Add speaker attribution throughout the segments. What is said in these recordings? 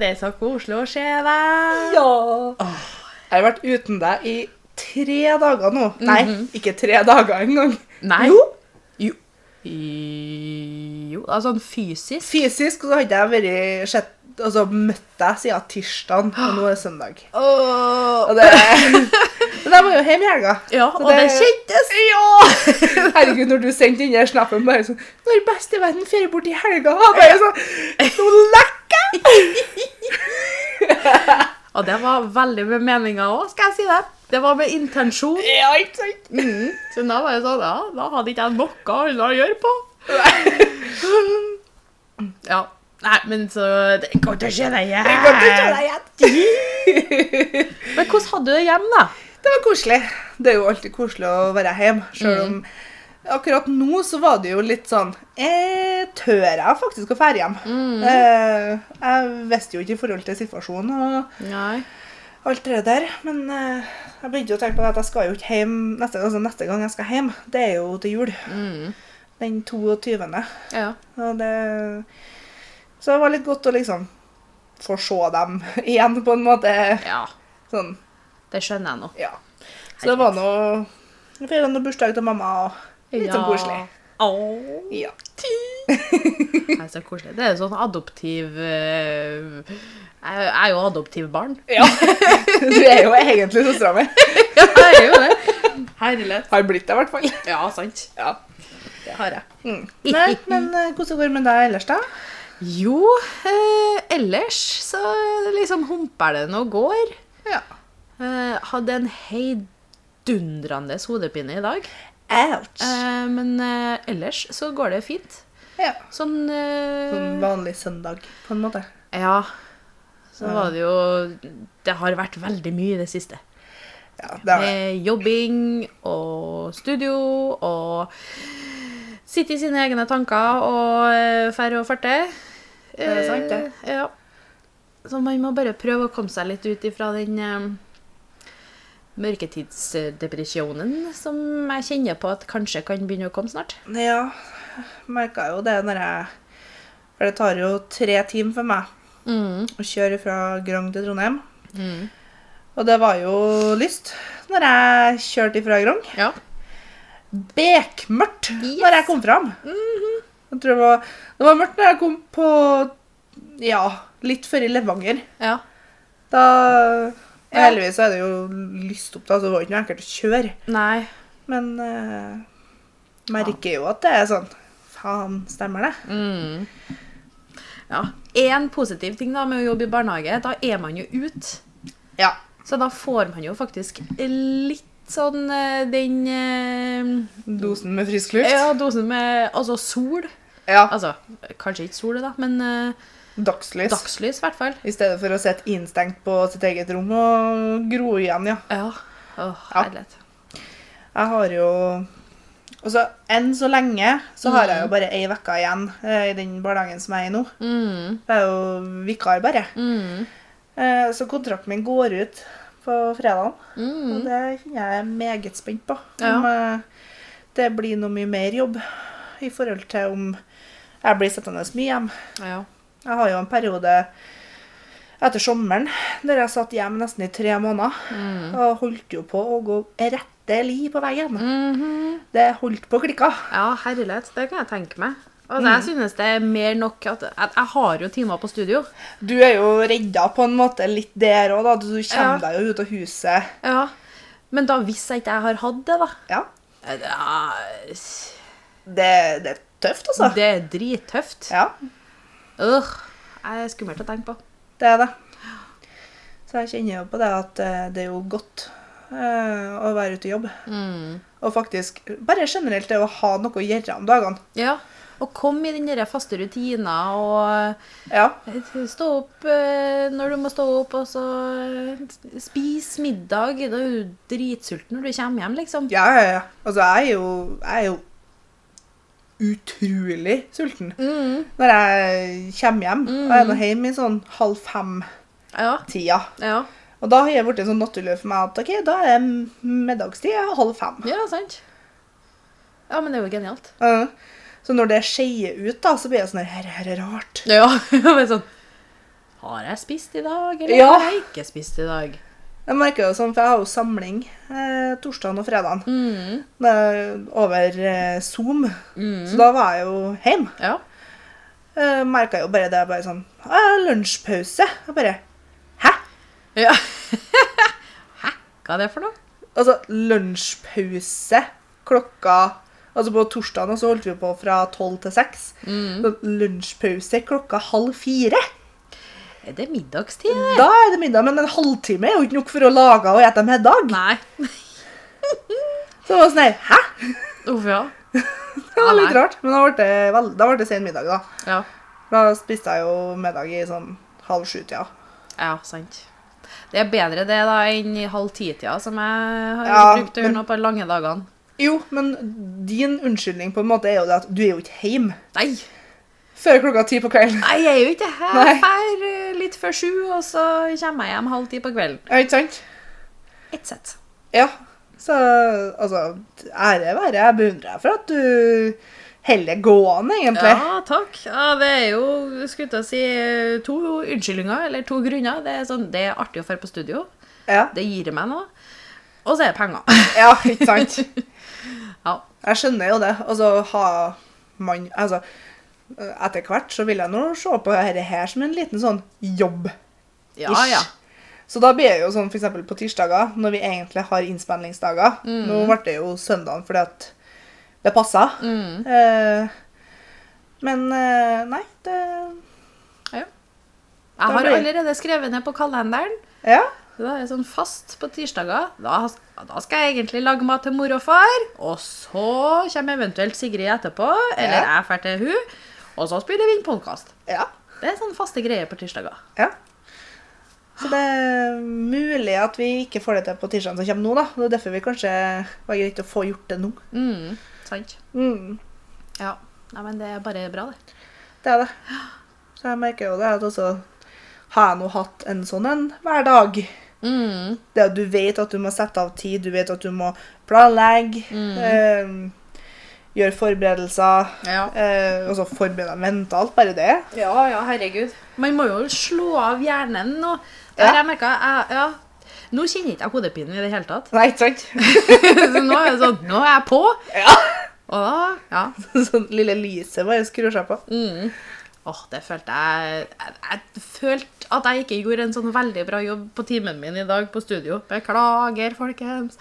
Speaker 1: Det er så koselig å se deg.
Speaker 2: Ja! Jeg har vært uten deg i tre dager nå. Nei, ikke tre dager engang.
Speaker 1: Nei.
Speaker 2: Jo,
Speaker 1: I- Jo, altså sånn fysisk.
Speaker 2: fysisk så hadde jeg vært sett, altså, møtt deg siden tirsdag, og nå er det søndag.
Speaker 1: Åh.
Speaker 2: Og det, men jeg var jo hjemme i helga.
Speaker 1: Ja,
Speaker 2: Så
Speaker 1: og det kjentes. Ja!
Speaker 2: Herregud, når du sendte inn den snappen bare sånn 'Når beste verden ferie bort i helga?' og Bare sånn Nå lekker
Speaker 1: Og det var veldig med meninga òg, skal jeg si det. Det var med intensjon.
Speaker 2: Ja, ikke sant?
Speaker 1: Så da var jeg sånn, ja, da hadde ikke jeg noe annet å gjøre på. ja. Nei, men så Det er godt å se deg igjen.
Speaker 2: Jeg kan ikke kjenne deg igjen.
Speaker 1: Men hvordan hadde du det hjemme, da?
Speaker 2: Det var koselig. Det er jo alltid koselig å være hjemme, sjøl om akkurat nå så var det jo litt sånn eh, Tør jeg faktisk å dra hjem? Eh, jeg visste jo ikke i forhold til situasjonen og
Speaker 1: Nei.
Speaker 2: alt det der, men eh, jeg begynte jo å tenke på at jeg skal jo ikke hjem neste, altså neste gang jeg skal hjem. Det er jo til jul.
Speaker 1: Mm.
Speaker 2: Den 22.
Speaker 1: Ja.
Speaker 2: Og det Så det var litt godt å liksom få se dem igjen, på en måte.
Speaker 1: ja.
Speaker 2: Sånn,
Speaker 1: Det skjønner jeg nå.
Speaker 2: ja. Så det var nå Vi feira noe bursdag til mamma, og litt sånn koselig.
Speaker 1: Åh.
Speaker 2: Ja.
Speaker 1: Nei, så koselig. Det er sånn adoptiv eh, Jeg jeg er jo adoptivbarn.
Speaker 2: ja. Du er jo egentlig søstera mi.
Speaker 1: Ja, jeg er jo det. Herlighet.
Speaker 2: Har blitt det, i hvert fall.
Speaker 1: Ja, sant.
Speaker 2: Ja.
Speaker 1: Det har jeg.
Speaker 2: Mm. Nei, men eh, hvordan går det med deg ellers, da?
Speaker 1: Jo, eh, ellers så liksom humper det nå går.
Speaker 2: Ja.
Speaker 1: Eh, hadde en heidundrende hodepine i dag.
Speaker 2: Ouch.
Speaker 1: Eh, men eh, ellers så går det fint.
Speaker 2: ja.
Speaker 1: Sånn eh,
Speaker 2: Sånn vanlig søndag, på en måte.
Speaker 1: Ja. Så var det jo Det har vært veldig mye i det siste.
Speaker 2: Ja, det har jeg.
Speaker 1: Med jobbing og studio og sitte i sine egne tanker og eh, færre og farte.
Speaker 2: Det er sant, det.
Speaker 1: Eh, Ja. Så man må bare prøve å komme seg litt ut ifra den eh, mørketidsdepresjonen som jeg kjenner på at kanskje kan begynne å komme snart.
Speaker 2: Ja, merka jo det når jeg For det tar jo tre timer for meg å kjøre fra Grong til Trondheim. Mm. Og det var jo lyst når jeg kjørte fra Grong.
Speaker 1: Ja.
Speaker 2: Bekmørkt
Speaker 1: Yes.
Speaker 2: når jeg kom fram. jeg tror det, var, det var mørkt når jeg kom på Ja, litt før i Levanger.
Speaker 1: Ja.
Speaker 2: Da
Speaker 1: Ja.
Speaker 2: Heldigvis så er det jo lyst opp, da, så det var ikke noe enkelt å kjøre.
Speaker 1: Nei.
Speaker 2: Men eh, merker jo at det er sånn Faen, stemmer det?
Speaker 1: Mm. Ja. En positiv ting da med å jobbe i barnehage, da er man jo ute.
Speaker 2: Ja.
Speaker 1: Så da får man jo faktisk litt sånn eh, den eh,
Speaker 2: Dosen med frisk luft?
Speaker 1: Ja, dosen med Altså sol.
Speaker 2: Ja,
Speaker 1: Altså, kanskje ikke sol, da, men eh,
Speaker 2: Dagslys.
Speaker 1: dagslys, i hvert fall.
Speaker 2: I stedet for å sitte innstengt på sitt eget rom og gro igjen, ja.
Speaker 1: Ja. Åh,
Speaker 2: Ja.
Speaker 1: herlighet.
Speaker 2: Jeg har jo Og så enn så lenge så har jeg jo bare ei uke igjen eh, i den barnehagen som jeg er i nå.
Speaker 1: Mm,
Speaker 2: Jeg er jo vikar, bare.
Speaker 1: mm,
Speaker 2: Eh, Så kontrakten min går ut på fredag.
Speaker 1: mm.
Speaker 2: Og det kjenner jeg er meget spent på.
Speaker 1: Ja.
Speaker 2: Om eh, det blir noe mye mer jobb i forhold til om jeg blir sittende mye hjemme.
Speaker 1: Ja.
Speaker 2: Jeg har jo en periode etter sommeren der jeg satt hjemme nesten i tre måneder.
Speaker 1: Mm.
Speaker 2: Og holdt jo på å gå rette li på veien.
Speaker 1: Mhm.
Speaker 2: Det holdt på å klikke.
Speaker 1: ja, herlighet. Det kan jeg tenke meg. Altså, Jeg synes det er mer nok at, at Jeg har jo timer på studio.
Speaker 2: Du er jo redda på en måte litt der òg, da. Du
Speaker 1: Ja.
Speaker 2: kommer deg jo ut av huset.
Speaker 1: Ja. Men da hvis jeg ikke har hatt det, da
Speaker 2: Ja.
Speaker 1: eh, da-
Speaker 2: Det, det er tøft, altså.
Speaker 1: Det er drittøft.
Speaker 2: Ja,
Speaker 1: Øh, jeg er skummelt å tenke på.
Speaker 2: det er det. Så jeg kjenner jo på det at eh, det er jo godt eh, å være ute i jobb.
Speaker 1: Mm.
Speaker 2: Og faktisk bare generelt det å ha noe å gjøre om dagene.
Speaker 1: Ja. Å komme i den der faste rutina og
Speaker 2: Ja.
Speaker 1: stå opp eh, når du må stå opp, og så eh, spise middag. Da er du dritsulten når du kommer hjem, liksom.
Speaker 2: Ja, ja, ja. Altså, jeg er jo, jeg er jo utrolig sulten.
Speaker 1: Mm.
Speaker 2: Når jeg kommer hjem, og jeg er nå hjemme i sånn halv fem-tida.
Speaker 1: Ja. Ja,
Speaker 2: Og da har jeg blitt en sånn naturlig for meg at ok, da er middagstid halv fem.
Speaker 1: ja sant. Ja, men det er jo genialt.
Speaker 2: Ja. Så når det skeier ut, da, så blir det sånn her, her er rart.
Speaker 1: Ja, men sånn Har jeg spist i dag, eller
Speaker 2: Ja.
Speaker 1: har jeg ikke spist i dag?
Speaker 2: Jeg merker jo sånn, for jeg har jo samling eh, torsdagen og fredagen
Speaker 1: Mm.
Speaker 2: eh, over eh, Zoom.
Speaker 1: Mm.
Speaker 2: Så da var jeg jo hjemme.
Speaker 1: Ja.
Speaker 2: Eh, merka jo bare det. bare sånn «Å, jeg har Lunsjpause. Jeg bare Hæ?
Speaker 1: ja. Hæ? Hva er det for noe?
Speaker 2: Altså lunsjpause klokka Altså på torsdagen så holdt vi på fra tolv til seks. Så Lunsjpause klokka halv fire.
Speaker 1: Er det middagstid? det?
Speaker 2: Da er det middag, men en halvtime er jo ikke nok for å lage og spise middag.
Speaker 1: Nei.
Speaker 2: Så det var sånn her, hæ?
Speaker 1: Uff, ja.
Speaker 2: Det var litt
Speaker 1: Nei.
Speaker 2: rart. Men da ble det, vel- da ble det sen middag, da.
Speaker 1: Ja.
Speaker 2: Da spiste jeg jo middag i sånn halv sju-tida.
Speaker 1: ja, sant. Det er bedre det da enn i halv ti-tida, som jeg har
Speaker 2: Ja,
Speaker 1: brukt å gjøre
Speaker 2: men-
Speaker 1: nå på de lange dagene.
Speaker 2: Jo, men din unnskyldning på en måte er jo det at du er jo ikke hjemme
Speaker 1: Nei,
Speaker 2: før klokka ti på kvelden.
Speaker 1: Nei jeg er jo ikke her.
Speaker 2: Nei.
Speaker 1: Jeg drar eh, litt før sju, og så kommer jeg hjem halv ti på kvelden.
Speaker 2: Ja, ikke sant?
Speaker 1: Ett sett.
Speaker 2: Ja. Så altså Ære være. Jeg beundrer deg for at du heller gående, egentlig.
Speaker 1: Ja, takk. Ja, det er jo skulle til å si eh, to unnskyldninger, eller to grunner. Det er, sånn, det er artig å dra på studio.
Speaker 2: Ja.
Speaker 1: Det gir meg noe. Og så er det penger.
Speaker 2: ja, ikke sant?
Speaker 1: Ja.
Speaker 2: Jeg skjønner jo det. Altså, ha man Altså, etter hvert så vil jeg nå se på dette her som en liten sånn jobb.
Speaker 1: Ja, ja.
Speaker 2: Så da blir det jo sånn for eksempel på tirsdager, når vi egentlig har innspillingsdager. Nå ble det jo søndagen fordi at det passa. Eh, men eh, nei, det
Speaker 1: Jeg har
Speaker 2: Da blir-
Speaker 1: allerede skrevet ned på kalenderen.
Speaker 2: Ja.
Speaker 1: Så Da er jeg sånn fast på tirsdager. Da, da skal jeg egentlig lage mat til mor og far. Og så kommer eventuelt Sigrid etterpå, eller
Speaker 2: Ja.
Speaker 1: jeg drar til hun, Og så spiller vi inn podkast.
Speaker 2: ja.
Speaker 1: Det er sånn faste greier på tirsdager.
Speaker 2: Ja. Så det er mulig at vi ikke får det til på tirsdagen som kommer nå, da. Det er derfor vi kanskje var greit å få gjort det nå.
Speaker 1: Mm, sant?
Speaker 2: Mm,
Speaker 1: Ja. Nei, men det er bare bra, det.
Speaker 2: det er det. Så jeg merker jo det at også har jeg nå hatt en sånn en hver dag.
Speaker 1: Mm,
Speaker 2: Det at du vet at du må sette av tid, du vet at du må planlegge,
Speaker 1: Mm.
Speaker 2: eh, gjøre forberedelser.
Speaker 1: ja.
Speaker 2: Eh, og så forberede deg mentalt, bare det.
Speaker 1: Ja, ja, herregud. Man må jo slå av hjernen nå. Der
Speaker 2: Ja.
Speaker 1: jeg merket, jeg, ja. Nå kjenner ikke jeg hodepinen i det hele tatt.
Speaker 2: Nei, ikke sant?
Speaker 1: Så nå er det sånn, nå er jeg på.
Speaker 2: Ja.
Speaker 1: Og da, ja.
Speaker 2: sånn lille lyset bare skrur seg på.
Speaker 1: Mm. Åh, det følte jeg, jeg, jeg følte at jeg ikke gjorde en sånn veldig bra jobb på timen min i dag på studio. Beklager, folkens.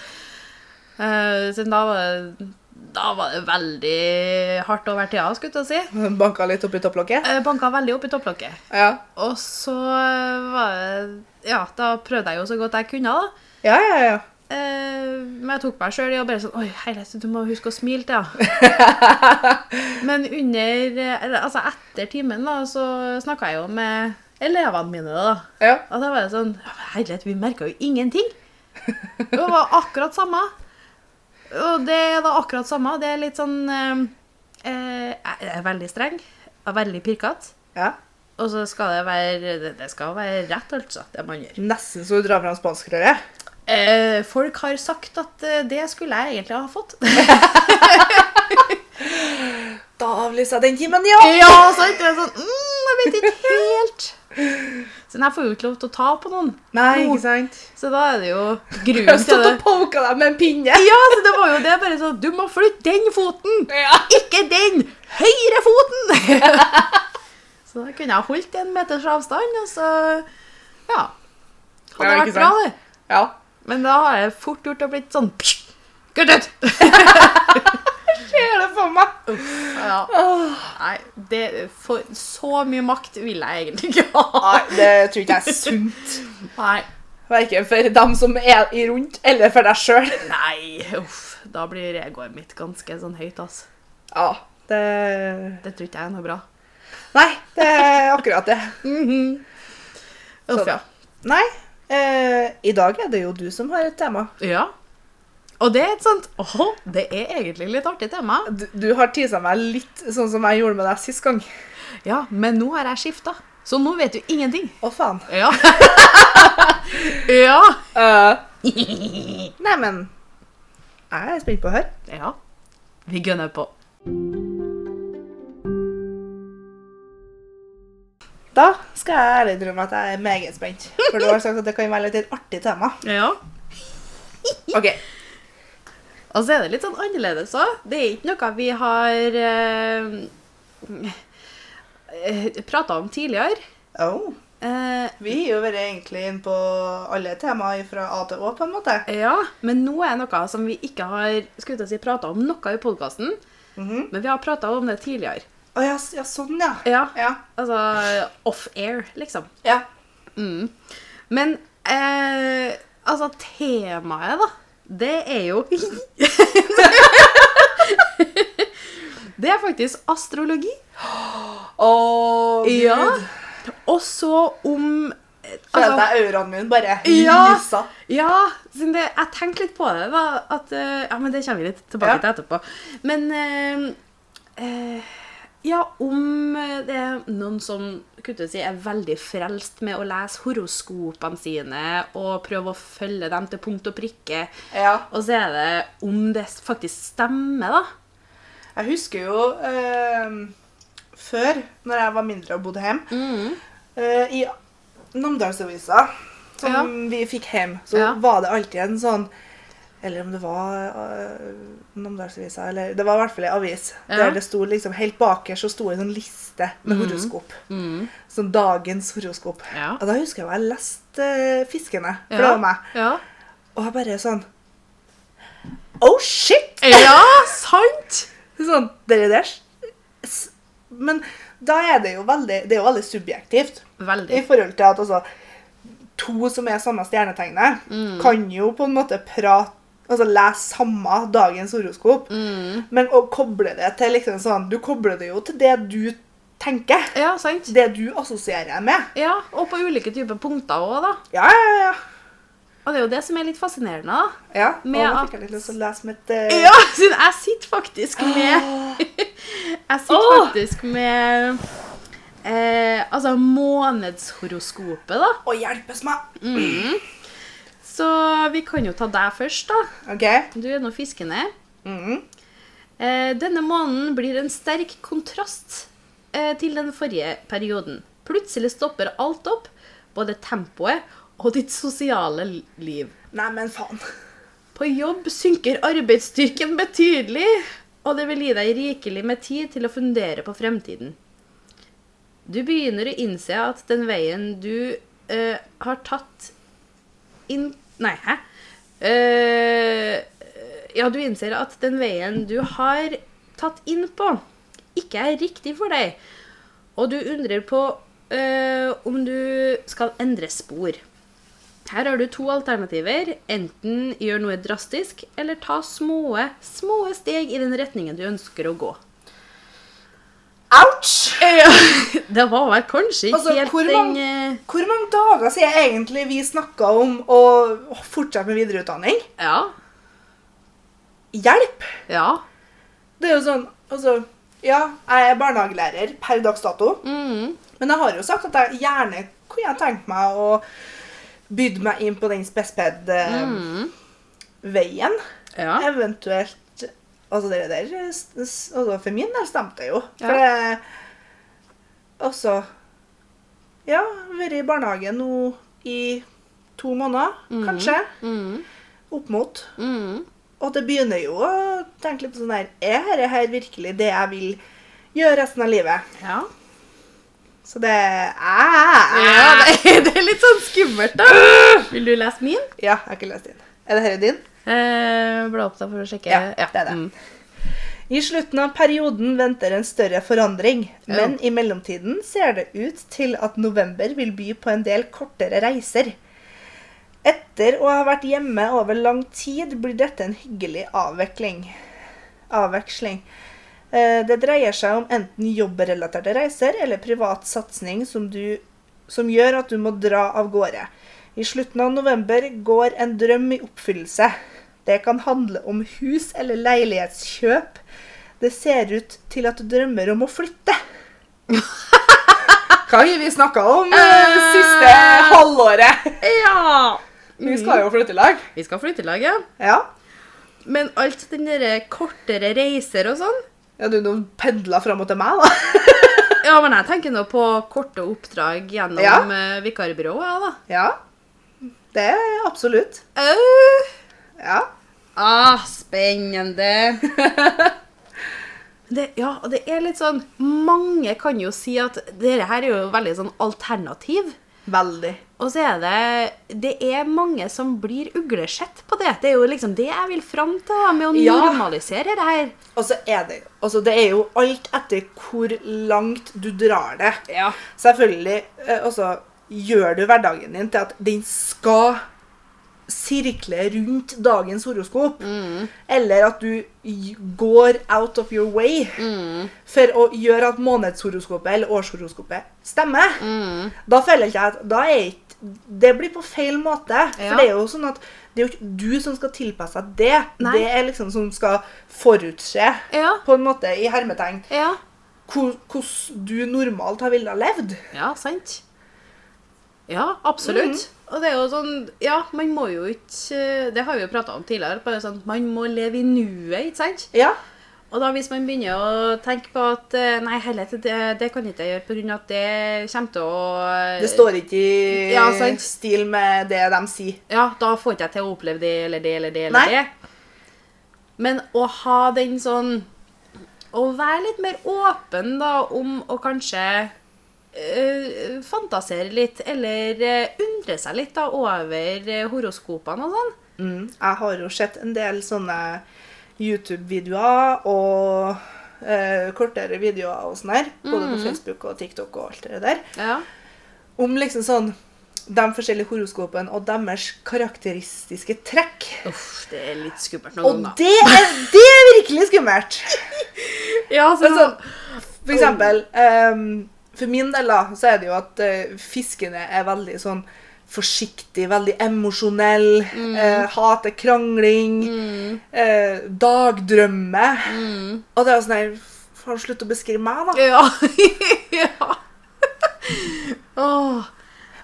Speaker 1: Eh, så da var, det, da var det veldig hardt over tida, skulle jeg til å si.
Speaker 2: Banka litt opp i topplokket.
Speaker 1: Uh, Banka veldig opp i topplokket.
Speaker 2: Ja.
Speaker 1: Og så var det Ja, da prøvde jeg jo så godt jeg kunne, da.
Speaker 2: Ja, ja, ja.
Speaker 1: Eh, men jeg tok meg sjøl i å bare sånn Oi, herlighet, du må huske å smile til henne. men under eh, eller, Altså, etter timen, da, så snakka jeg jo med elevene mine, da.
Speaker 2: ja.
Speaker 1: Og da var det sånn «Ja, men Herlighet, vi merka jo ingenting! Det var akkurat samme. Og det er da akkurat samme. Det er litt sånn eh, eh, Jeg er veldig streng. jeg er Veldig pirkete.
Speaker 2: Ja.
Speaker 1: Og så skal det være det- Det skal være rett, altså, det man gjør.
Speaker 2: Nesten så du drar fram spanskrøret.
Speaker 1: Eh, folk har sagt at eh, det skulle jeg egentlig ha fått.
Speaker 2: Da avlyser jeg den timen, ja!
Speaker 1: ja, sant? Det er sånn mm, Jeg vet ikke helt. Så jeg får jo ikke lov til å ta på noen.
Speaker 2: Nei,
Speaker 1: Jo,
Speaker 2: ikke sant?
Speaker 1: Så da er det jo
Speaker 2: Jeg har
Speaker 1: grunnen til
Speaker 2: stått og
Speaker 1: det.
Speaker 2: poka deg med en pinne.
Speaker 1: Ja, så det var jo det. Bare sånn Du må flytte den foten!
Speaker 2: Ja.
Speaker 1: Ikke den! Høyre foten! så da kunne jeg holdt en meters avstand, og så Ja. Hadde
Speaker 2: Ja, ikke
Speaker 1: vært bra,
Speaker 2: sant?
Speaker 1: det.
Speaker 2: ja.
Speaker 1: Men da har jeg fort gjort å blitt sånn Kutt ut!
Speaker 2: Ser det for meg.
Speaker 1: Ja.
Speaker 2: Åh.
Speaker 1: Nei, det, for, så mye makt vil jeg egentlig ikke ha.
Speaker 2: Nei, det tror ikke jeg er sunt.
Speaker 1: Nei.
Speaker 2: Verken for dem som er i rundt, eller for deg sjøl.
Speaker 1: Nei, uff. Da blir egoet mitt ganske sånn høyt, altså.
Speaker 2: Ja, det
Speaker 1: Det tror ikke jeg er noe bra.
Speaker 2: Nei, det er akkurat det.
Speaker 1: Uff, Mhm. ja.
Speaker 2: Sånn. Nei. Eh, I dag er det jo du som har et tema.
Speaker 1: ja. Og det er et sånt Åh, det er egentlig litt artig tema.
Speaker 2: Du, du har tisa meg litt sånn som jeg gjorde med deg sist gang.
Speaker 1: Ja, men nå har jeg skifta, så nå vet du ingenting.
Speaker 2: Å, faen.
Speaker 1: Ja. ja.
Speaker 2: Eh, nei, men Jeg er spent på å høre.
Speaker 1: Ja. Vi gønner på.
Speaker 2: Da skal jeg ærlig drømme at jeg er meget spent. For du har sagt at det kan være litt et artig tema.
Speaker 1: Ja.
Speaker 2: Ok.
Speaker 1: Og så er det litt sånn annerledes òg. Det er ikke noe vi har eh, prata om tidligere.
Speaker 2: Oh.
Speaker 1: Eh,
Speaker 2: Vi har jo vært egentlig inn på alle temaer fra A til Å, på en måte.
Speaker 1: ja, men nå er noe som vi ikke har skulle til å si, prata om noe i podkasten.
Speaker 2: Mhm.
Speaker 1: Men vi har prata om det tidligere.
Speaker 2: Å ja, s- ja, sånn, ja.
Speaker 1: Ja,
Speaker 2: Ja.
Speaker 1: Altså off-air, liksom.
Speaker 2: ja.
Speaker 1: Mm. Men eh, altså, temaet, da, det er jo Det er faktisk astrologi.
Speaker 2: Å, Gud.
Speaker 1: Ja. Og så om eh,
Speaker 2: Følte
Speaker 1: altså,
Speaker 2: jeg auraen min bare
Speaker 1: Ja.
Speaker 2: lysa.
Speaker 1: Ja, siden det, jeg tenkte litt på det. Da, at, eh, ja, men det kommer vi litt tilbake
Speaker 2: Ja.
Speaker 1: til etterpå. Men eh, eh, ja, om eh, det er noen som kunne si, er veldig frelst med å lese horoskopene sine og prøve å følge dem til punkt og prikke.
Speaker 2: Ja.
Speaker 1: Og så er det om det faktisk stemmer, da.
Speaker 2: Jeg husker jo eh, før, når jeg var mindre og bodde hjemme,
Speaker 1: Mm.
Speaker 2: eh, i Namdalsavisa, som
Speaker 1: Ja.
Speaker 2: vi fikk hjem, så
Speaker 1: Ja.
Speaker 2: var det alltid en sånn Eller om det var eh, Namdalsavisa, eller Det var i hvert fall en avis.
Speaker 1: Ja. Mm.
Speaker 2: Der det sto liksom Helt bakerst så sto en sånn liste med horoskop. Sånn dagens horoskop.
Speaker 1: Ja.
Speaker 2: Og da husker jeg jeg leste eh, 'Fiskene', for det
Speaker 1: Ja.
Speaker 2: var meg.
Speaker 1: Ja,
Speaker 2: Og jeg bare sånn Oh shit!
Speaker 1: ja sant!
Speaker 2: Sånn, dere der s- Men da er det jo veldig, det er jo veldig subjektivt. I
Speaker 1: Veldig.
Speaker 2: forhold til at altså To som er samme stjernetegnet, kan jo på en måte prate Altså lese samme dagens horoskop, men å koble det til liksom sånn Du kobler det jo til det du tenker.
Speaker 1: Ja, sant.
Speaker 2: Det du assosierer med.
Speaker 1: Ja, og på ulike typer punkter òg, da.
Speaker 2: Ja, ja, ja.
Speaker 1: Og det er jo det som er litt fascinerende, da.
Speaker 2: ja. Og
Speaker 1: Med
Speaker 2: nå
Speaker 1: at-
Speaker 2: fikk jeg litt lyst til å lese mitt eh,
Speaker 1: Ja, siden jeg sitter faktisk med Jeg sitter
Speaker 2: Åh!
Speaker 1: faktisk med eh, Altså månedshoroskopet, da.
Speaker 2: Å, hjelpes meg!
Speaker 1: Så vi kan jo ta deg først, da.
Speaker 2: OK.
Speaker 1: Du er nå fiskende.
Speaker 2: Mm.
Speaker 1: Eh, denne måneden blir en sterk kontrast eh, til den forrige perioden. Plutselig stopper alt opp, både tempoet og ditt sosiale liv.
Speaker 2: Nei, men faen.
Speaker 1: På jobb synker arbeidsstyrken betydelig, og det vil gi deg rikelig med tid til å fundere på fremtiden. Du begynner å innse at den veien du eh, har tatt inn Nei, hæ? Eh, ja, du innser at den veien du har tatt inn på, ikke er riktig for deg, og du undrer på eh, om du skal endre spor. Her har du to alternativer. Enten gjør noe drastisk, eller ta små, små steg i den retningen du ønsker å gå.
Speaker 2: Ouch!
Speaker 1: Det var vel kanskje ikke
Speaker 2: Altså,
Speaker 1: helt
Speaker 2: hvor
Speaker 1: den
Speaker 2: mange-
Speaker 1: eh,
Speaker 2: Hvor mange dager siden egentlig vi snakka om å fortsette med videreutdanning?
Speaker 1: Ja.
Speaker 2: Hjelp!
Speaker 1: Ja.
Speaker 2: Det er jo sånn Altså, ja, jeg er barnehagelærer per dags dato,
Speaker 1: Mm,
Speaker 2: men jeg har jo sagt at jeg gjerne kunne jeg tenkt meg å bydde meg inn på den spesped-veien.
Speaker 1: mm, ja.
Speaker 2: Eventuelt Altså, det der eh, s- s- altså, For min del stemte det jo. For
Speaker 1: Ja.
Speaker 2: det Altså Ja, vært i barnehagen nå i to måneder, kanskje.
Speaker 1: Mm,
Speaker 2: Opp mot.
Speaker 1: mm,
Speaker 2: Og det begynner jo å tenke litt på sånn her Er dette her virkelig det jeg vil gjøre resten av livet?
Speaker 1: ja.
Speaker 2: Så det ah,
Speaker 1: ja det, det er litt sånn skummelt, da. Vil du lese min?
Speaker 2: Ja, jeg har ikke lest din. Er det her din?
Speaker 1: Eh, Bla opp da for å sjekke.
Speaker 2: Ja, det er det.
Speaker 1: Mm.
Speaker 2: I slutten av perioden venter en større forandring, men i mellomtiden ser det ut til at november vil by på en del kortere reiser. Etter å ha vært hjemme over lang tid blir dette en hyggelig avvekling. avveksling. Eh, Det dreier seg om enten jobbrelaterte reiser eller privat satsing som, du- som gjør at du må dra av gårde. I slutten av november går en drøm i oppfyllelse. Det kan handle om hus- eller leilighetskjøp. Det ser ut til at du drømmer om å flytte. Hva har vi snakka om
Speaker 1: eh, siste
Speaker 2: halvåret?
Speaker 1: Ja!
Speaker 2: Vi skal jo flytte i lag.
Speaker 1: Vi skal flytte i lag, ja.
Speaker 2: Ja.
Speaker 1: Men alt den derre kortere reiser og sånn
Speaker 2: Ja, du, de pendla fram og til meg, da.
Speaker 1: Ja, men jeg tenker nå på korte oppdrag gjennom
Speaker 2: Ja.
Speaker 1: eh, vikarbyrået, jeg, da.
Speaker 2: Ja. Det er absolutt.
Speaker 1: Au!
Speaker 2: Ja.
Speaker 1: Ah, spennende! det, ja, og det er litt sånn Mange kan jo si at dette her er jo veldig sånn alternativ.
Speaker 2: Veldig.
Speaker 1: Og så er det Det er mange som blir uglesett på det. Det er jo liksom det jeg vil fram til da, med å
Speaker 2: Ja.
Speaker 1: normalisere det her.
Speaker 2: Og så er det altså Det er jo alt etter hvor langt du drar det.
Speaker 1: Ja.
Speaker 2: Selvfølgelig. eh, Altså, gjør du hverdagen din til at den skal sirkle rundt dagens horoskop,
Speaker 1: Mm.
Speaker 2: eller at du j- går out of your way
Speaker 1: Mm.
Speaker 2: for å gjøre at månedshoroskopet eller årshoroskopet stemmer,
Speaker 1: Mm.
Speaker 2: da føler ikke jeg at da er ikke det blir på feil måte.
Speaker 1: Ja.
Speaker 2: For det er jo sånn at det er jo ikke du som skal tilpasse deg det.
Speaker 1: Nei.
Speaker 2: Det er liksom som skal forutse,
Speaker 1: Ja.
Speaker 2: på en måte, i hermetegn,
Speaker 1: Ja,
Speaker 2: hvor- hvordan du normalt har villet ha levd.
Speaker 1: ja sant. Ja, absolutt. Og det er jo sånn Ja, man må jo ikke eh, Det har vi jo prata om tidligere. bare sånn, Man må leve i nuet, ikke sant?
Speaker 2: Ja.
Speaker 1: Og da hvis man begynner å tenke på at eh, nei, helhet, det, det kan ikke jeg gjøre pga. at det kommer til å eh,
Speaker 2: Det står ikke i
Speaker 1: Ja, sant.
Speaker 2: stil med det de sier.
Speaker 1: Ja, da får ikke jeg til å oppleve det eller det eller det
Speaker 2: Nei.
Speaker 1: eller det. Men å ha den sånn Å være litt mer åpen da om å kanskje eh, fantasere litt, eller eh, undre seg litt da over eh, horoskopene og sånn.
Speaker 2: Mm. Jeg har jo sett en del sånne YouTube-videoer og eh, kortere videoer og sånn her, både
Speaker 1: Mm.
Speaker 2: på Facebook og TikTok og alt det der,
Speaker 1: Ja.
Speaker 2: om liksom sånn de forskjellige horoskopene og deres karakteristiske trekk.
Speaker 1: Uff, det er litt skummelt
Speaker 2: Og
Speaker 1: noen ganger.
Speaker 2: det er, det er virkelig skummelt!
Speaker 1: Ja, så,
Speaker 2: Men sånn, for eksempel, ehm, for min del da, så er det jo at eh, fiskene er veldig sånn forsiktig, veldig emosjonell,
Speaker 1: Mm.
Speaker 2: eh, hater krangling, eh, dagdrømme. Og det er jo sånn her, faen slutt å beskrive meg da.
Speaker 1: Mm. Ja. ja. Åh.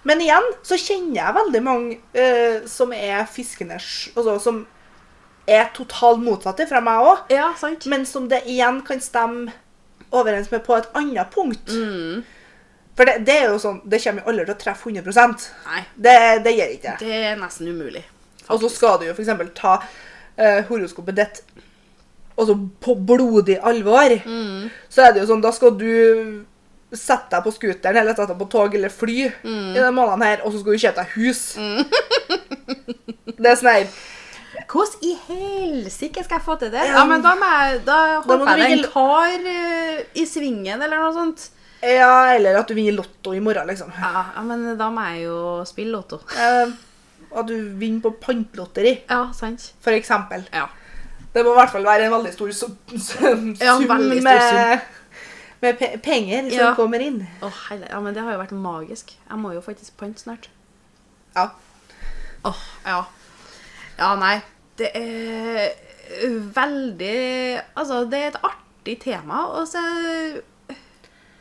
Speaker 2: Men igjen, så kjenner jeg veldig mange eh, som er fiskene, sj- altså som er totalt motsatte fra meg også.
Speaker 1: Ja, sant.
Speaker 2: men som det igjen kan stemme overens med på et annet punkt. For det, det er jo sånn, det kommer jo aldri til å treffe 100
Speaker 1: Nei,
Speaker 2: Det, det gjør ikke det.
Speaker 1: det er nesten umulig.
Speaker 2: Og så skal du jo f.eks. ta eh, horoskopet ditt altså på blodig alvor. Så er det jo sånn, da skal du sette deg på scooteren eller sette deg på tog eller fly i de månedene her, og så skal du kjøpe deg hus. det er sånn her
Speaker 1: Hvordan i helsike skal jeg få til det?
Speaker 2: Ja.
Speaker 1: Ja, men Da, må jeg, da
Speaker 2: må
Speaker 1: håper
Speaker 2: du
Speaker 1: jeg det er en
Speaker 2: ikke-
Speaker 1: kar eh, i svingen eller noe sånt.
Speaker 2: Ja, eller at du vinner Lotto i morgen, liksom.
Speaker 1: Ja, ja, men da må jeg jo spille lotto.
Speaker 2: Eh, at du vinner på pantlotteri.
Speaker 1: Ja, sant.
Speaker 2: For eksempel.
Speaker 1: Ja.
Speaker 2: Det må i hvert fall være en veldig stor sum, sum,
Speaker 1: Ja,
Speaker 2: sum
Speaker 1: veldig stor
Speaker 2: med, med pe penger som
Speaker 1: Ja.
Speaker 2: kommer inn.
Speaker 1: Å, heile. ja, men det har jo vært magisk. Jeg må jo faktisk pante snart.
Speaker 2: Ja.
Speaker 1: Åh, ja. Ja, nei. Det er veldig Altså, det er et artig tema, og så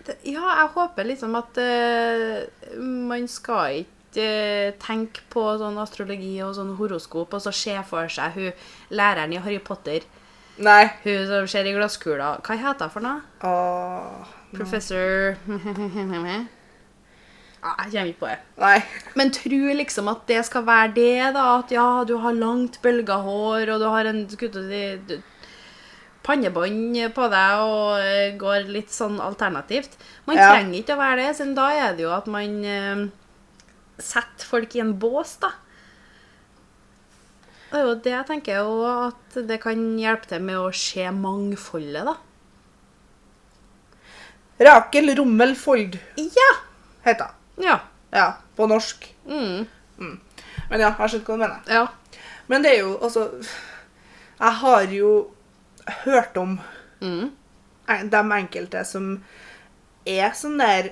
Speaker 1: det, Ja, jeg håper liksom at eh, man skal ikke eh, tenke på sånn astrologi og sånn horoskop, og så se for seg hun læreren i Harry Potter,
Speaker 2: Nei.
Speaker 1: hun som ser i glasskula Hva heter hun for noe?
Speaker 2: Åh.
Speaker 1: Professor Ja, Jeg kommer ikke på det.
Speaker 2: Nei.
Speaker 1: Men tro liksom at det skal være det, da. At ja, du har langt bølga hår, og du har en skulle til å si, du- pannebånd på deg og eh, går litt sånn alternativt. Man
Speaker 2: Ja.
Speaker 1: trenger ikke å være det, siden da er det jo at man eh, setter folk i en bås, da. Det er jo det jeg tenker jo at det kan hjelpe til med å se mangfoldet, da.
Speaker 2: Rakel Rommel Fold
Speaker 1: Ja!
Speaker 2: heter hun.
Speaker 1: Ja.
Speaker 2: Ja, på norsk.
Speaker 1: Mm.
Speaker 2: Men ja, jeg skjønner hva du mener.
Speaker 1: Ja.
Speaker 2: Men det er jo altså Jeg har jo hørt om
Speaker 1: Mm.
Speaker 2: en- de enkelte som er sånn der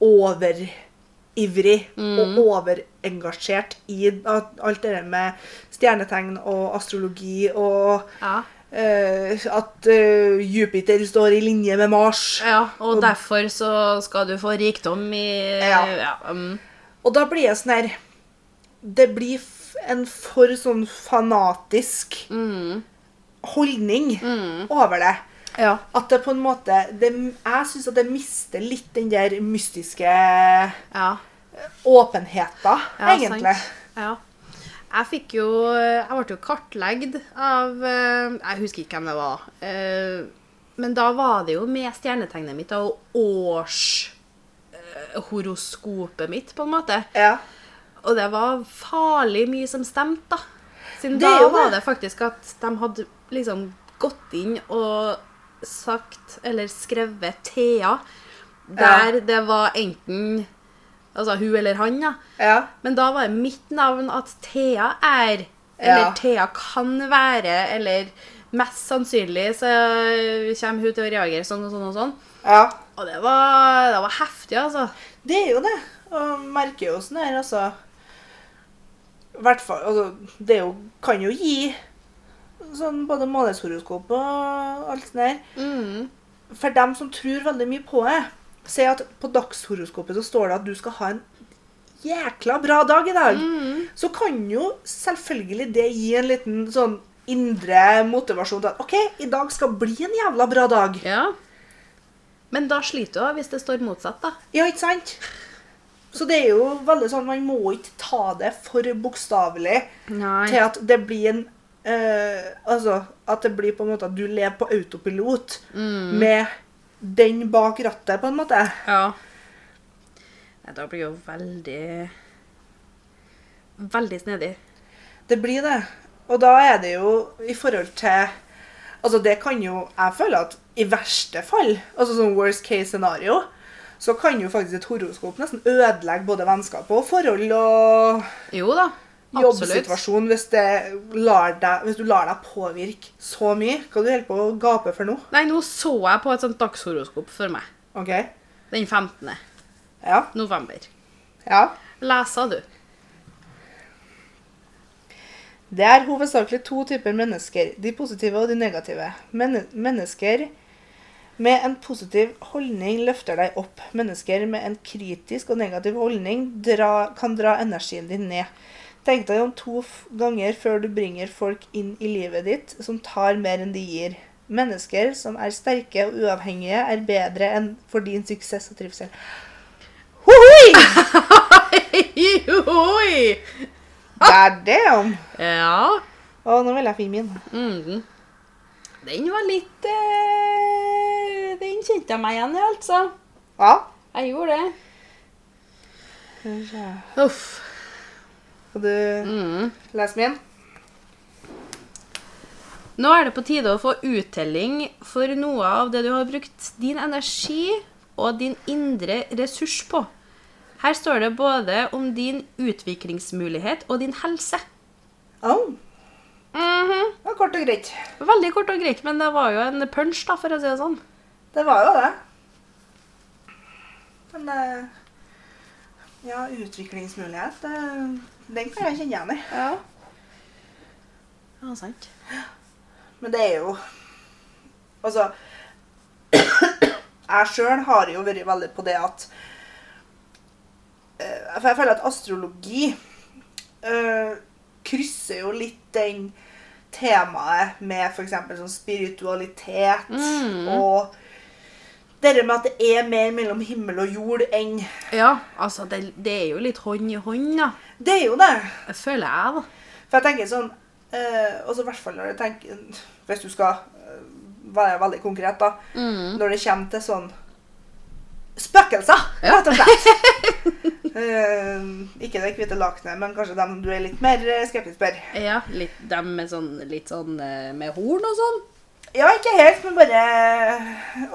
Speaker 2: overivrig
Speaker 1: Mm.
Speaker 2: og overengasjert i at- alt det der med stjernetegn og astrologi og
Speaker 1: ja.
Speaker 2: eh, at eh, Jupiter står i linje med Mars.
Speaker 1: Ja, og derfor så skal du få rikdom i
Speaker 2: Ja.
Speaker 1: mm.
Speaker 2: Og da blir jeg sånn her Det blir f- en
Speaker 1: Mm.
Speaker 2: for sånn fanatisk holdning over det.
Speaker 1: Ja.
Speaker 2: At det på en måte det, Jeg syns at det mister litt den der mystiske
Speaker 1: ja.
Speaker 2: åpenheten,
Speaker 1: Ja,
Speaker 2: egentlig.
Speaker 1: Sant. Ja. Jeg fikk jo Jeg ble jo kartlagt av eh, Jeg husker ikke hvem det var. eh, Men da var det jo med stjernetegnet mitt og årshoroskopet mitt, på en måte.
Speaker 2: Ja.
Speaker 1: Og det var farlig mye som stemte, da. Siden
Speaker 2: Det
Speaker 1: da
Speaker 2: er jo
Speaker 1: var
Speaker 2: det.
Speaker 1: det faktisk at de hadde liksom gått inn og sagt, eller skrevet Thea, der det var enten Altså hun eller han, da.
Speaker 2: ja.
Speaker 1: Men da var mitt navn at Thea er, eller
Speaker 2: Ja.
Speaker 1: Thea kan være, eller mest sannsynlig så kommer hun til å reagere sånn og sånn og sånn.
Speaker 2: ja.
Speaker 1: Og det var, det var heftig, altså.
Speaker 2: Det er jo det. Og merker jo sånn her, altså hvert fall, altså, Det er jo, kan jo gi sånn både månedshoroskop og alt sånn sånt der. For dem som tror veldig mye på det, si at på dagshoroskopet så står det at du skal ha en jækla bra dag i dag. Så kan jo selvfølgelig det gi en liten sånn indre motivasjon til at OK, i dag skal bli en jævla bra dag.
Speaker 1: Ja. Men da sliter du også hvis det står motsatt, da.
Speaker 2: Ja, ikke sant? Så det er jo veldig sånn, man må ikke ta det for bokstavelig til
Speaker 1: Nei.
Speaker 2: at det blir en eh, Altså, at det blir på en måte at du lever på autopilot med den bak rattet, på en måte.
Speaker 1: Ja. Nei, da blir jo veldig Veldig snedig.
Speaker 2: Det blir det. Og da er det jo i forhold til Altså, det kan jo Jeg føler at i verste fall, altså sånn worst case scenario, så kan jo faktisk et horoskop nesten ødelegge både vennskap og forhold og
Speaker 1: Jo da. Absolutt.
Speaker 2: jobbsituasjon hvis, det lar deg, hvis du lar deg påvirke så mye. Hva du holder på å gape for nå?
Speaker 1: Nei, nå så jeg på et sånt dagshoroskop for meg.
Speaker 2: OK?
Speaker 1: Den 15.
Speaker 2: Ja.
Speaker 1: november.
Speaker 2: ja.
Speaker 1: Leser du?
Speaker 2: Det er hovedsakelig to typer mennesker, de positive og de negative. Men mennesker med en positiv holdning løfter deg opp. Mennesker med en kritisk og negativ holdning dra, kan dra energien din ned. Tenk deg om to f- ganger før du bringer folk inn i livet ditt som tar mer enn de gir. Mennesker som er sterke og uavhengige, er bedre enn for din suksess og trivsel. Hohoi!
Speaker 1: Oi!
Speaker 2: God damn!
Speaker 1: Ja.
Speaker 2: Å, nå vil jeg finne min.
Speaker 1: Mhm. Den var litt eh, Den kjente jeg meg igjen i, altså.
Speaker 2: Ja.
Speaker 1: Jeg gjorde det.
Speaker 2: Skal vi se.
Speaker 1: Uff.
Speaker 2: Skal du
Speaker 1: Mhm.
Speaker 2: lese min?
Speaker 1: Nå er det på tide å få uttelling for noe av det du har brukt din energi og din indre ressurs på. Her står det både om din utviklingsmulighet og din helse.
Speaker 2: Au.
Speaker 1: Mhm.
Speaker 2: Det var kort og greit.
Speaker 1: Veldig kort og greit, men det var jo en punch, da, for å si det sånn.
Speaker 2: Det var jo det. Men eh, ja, utviklingsmulighet, eh, den kan jeg kjenne igjen i.
Speaker 1: Ja. Ja, sant.
Speaker 2: Men det er jo Altså Jeg sjøl har jo vært veldig på det at eh, For jeg føler at astrologi eh, krysser jo litt den temaet med f.eks. sånn spiritualitet
Speaker 1: Mm.
Speaker 2: og det der med at det er mer mellom himmel og jord enn
Speaker 1: Ja, altså, det, det er jo litt hånd i hånd, da.
Speaker 2: Det er jo det.
Speaker 1: Det føler jeg, da.
Speaker 2: For jeg tenker sånn eh, Og så i hvert fall når jeg tenker Hvis du skal eh, være veldig konkret, da.
Speaker 1: Mm.
Speaker 2: Når det kommer til sånn Spøkelser,
Speaker 1: Ja.
Speaker 2: rett og slett. Eh, ikke det hvite lakenet, men kanskje dem du er litt mer eh, skeptisk for.
Speaker 1: Ja, litt, dem med sånn, litt sånn eh, med horn og sånn.
Speaker 2: Ja, ikke helt, men bare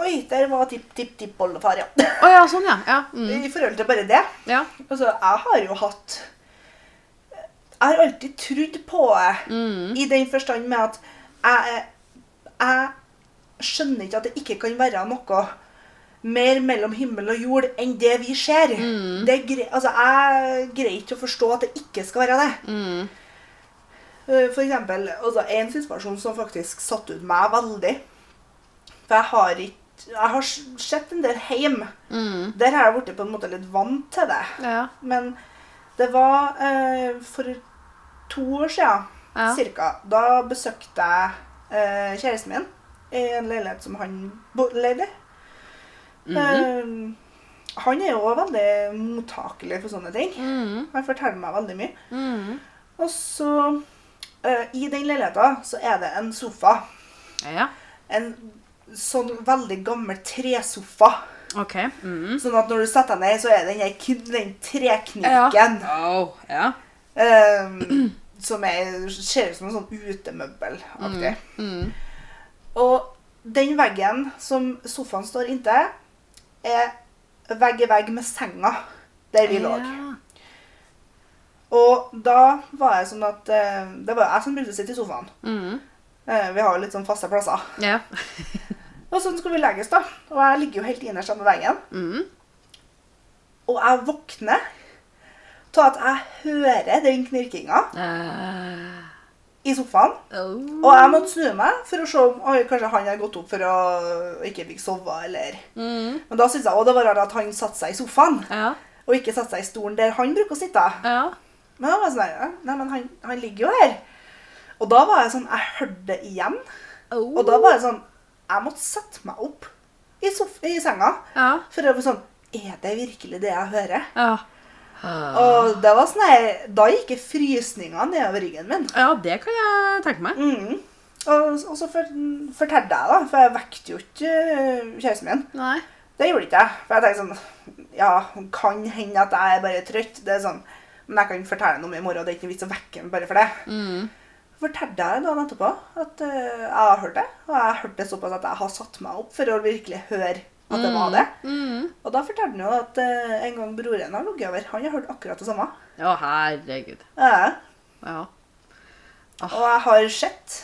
Speaker 2: Oi, der var tipp-tipp-tippoldefar, ja.
Speaker 1: Å ja, sånn, ja. Ja. Mm.
Speaker 2: I forhold til bare det.
Speaker 1: ja. Mm.
Speaker 2: Altså, jeg har jo hatt Jeg har alltid trodd på det.
Speaker 1: Mm.
Speaker 2: I den forstand med at jeg, jeg skjønner ikke at det ikke kan være noe mer mellom himmel og jord enn det vi ser.
Speaker 1: Mm.
Speaker 2: Det er gre altså, jeg greier ikke å forstå at det ikke skal være det.
Speaker 1: Mm.
Speaker 2: Eh, For eksempel, altså, en situasjon som faktisk satte ut meg veldig. For jeg har ikke Jeg har s- sett en del hjem.
Speaker 1: Mm.
Speaker 2: Der har jeg blitt på en måte litt vant til det.
Speaker 1: Ja.
Speaker 2: Men det var eh, for to år siden
Speaker 1: Ja.
Speaker 2: cirka. Da besøkte jeg eh, kjæresten min i en leilighet som han bo- leide.
Speaker 1: Mhm.
Speaker 2: Eh, han er jo veldig mottakelig for sånne ting.
Speaker 1: Mhm.
Speaker 2: Han forteller meg veldig mye.
Speaker 1: Mhm.
Speaker 2: Og så, eh, i den leiligheten, så er det en sofa.
Speaker 1: Ja.
Speaker 2: En sånn veldig gammel tresofa.
Speaker 1: OK. Mhm.
Speaker 2: Sånn at når du setter deg ned, så er det den, her kn- den trekniken.
Speaker 1: Au, ja.
Speaker 2: Ehm, som er, ser ut som en sånn utemøbelaktig.
Speaker 1: Mhm.
Speaker 2: Og den veggen som sofaen står inntil, er vegg i vegg med senga der vi lå.
Speaker 1: Ja.
Speaker 2: Og da var jeg sånn at eh, Det var jo jeg som brukte å sitte i sofaen.
Speaker 1: Mhm.
Speaker 2: Eh, vi har jo litt sånn faste plasser.
Speaker 1: Ja.
Speaker 2: Og sånn skulle vi legges, da. Og jeg ligger jo helt innerst med veggen.
Speaker 1: Mhm.
Speaker 2: Og jeg våkner av at jeg hører den knirkinga
Speaker 1: Eh,
Speaker 2: i sofaen.
Speaker 1: au.
Speaker 2: Og jeg måtte snu meg for å se om oi, kanskje han hadde gått opp for å ikke fikk sove. eller...
Speaker 1: Mhm.
Speaker 2: Men da syntes jeg også det var rart at han satte seg i sofaen,
Speaker 1: Ja.
Speaker 2: og ikke satte seg i stolen der han bruker å sitte.
Speaker 1: Ja.
Speaker 2: Men da var jeg sånn her, ja, Nei, men han, han ligger jo her. Og da var jeg sånn Jeg hørte det igjen.
Speaker 1: Au.
Speaker 2: Og da var jeg sånn Jeg måtte sette meg opp i, sof i senga
Speaker 1: Ja.
Speaker 2: for å være sånn Er det virkelig det jeg hører?
Speaker 1: Ja.
Speaker 2: Og det var sånn her, da gikk jeg frysninga nedover ryggen min.
Speaker 1: ja, det kan jeg tenke meg.
Speaker 2: Mm. Og, og så for, fortalte jeg, da, for jeg vekte jo ikke øh, kjæresten min.
Speaker 1: Nei.
Speaker 2: Det gjorde ikke jeg. For jeg tenkte sånn Ja, kan hende at jeg er bare trøtt. Det er sånn, Men jeg kan fortelle ham om det i morgen. Det er ikke noe vits å vekke ham bare for det.
Speaker 1: Mhm.
Speaker 2: Fortalte jeg dagen etterpå at øh, jeg har hørt det. Og jeg har hørt det såpass at jeg har satt meg opp for å virkelig høre at det var det.
Speaker 1: Mhm.
Speaker 2: Og da fortalte han jo at øh, en gang broren har ligget over, han har hørt akkurat det samme.
Speaker 1: Å, herregud.
Speaker 2: Ja.
Speaker 1: Ja.
Speaker 2: Og jeg har sett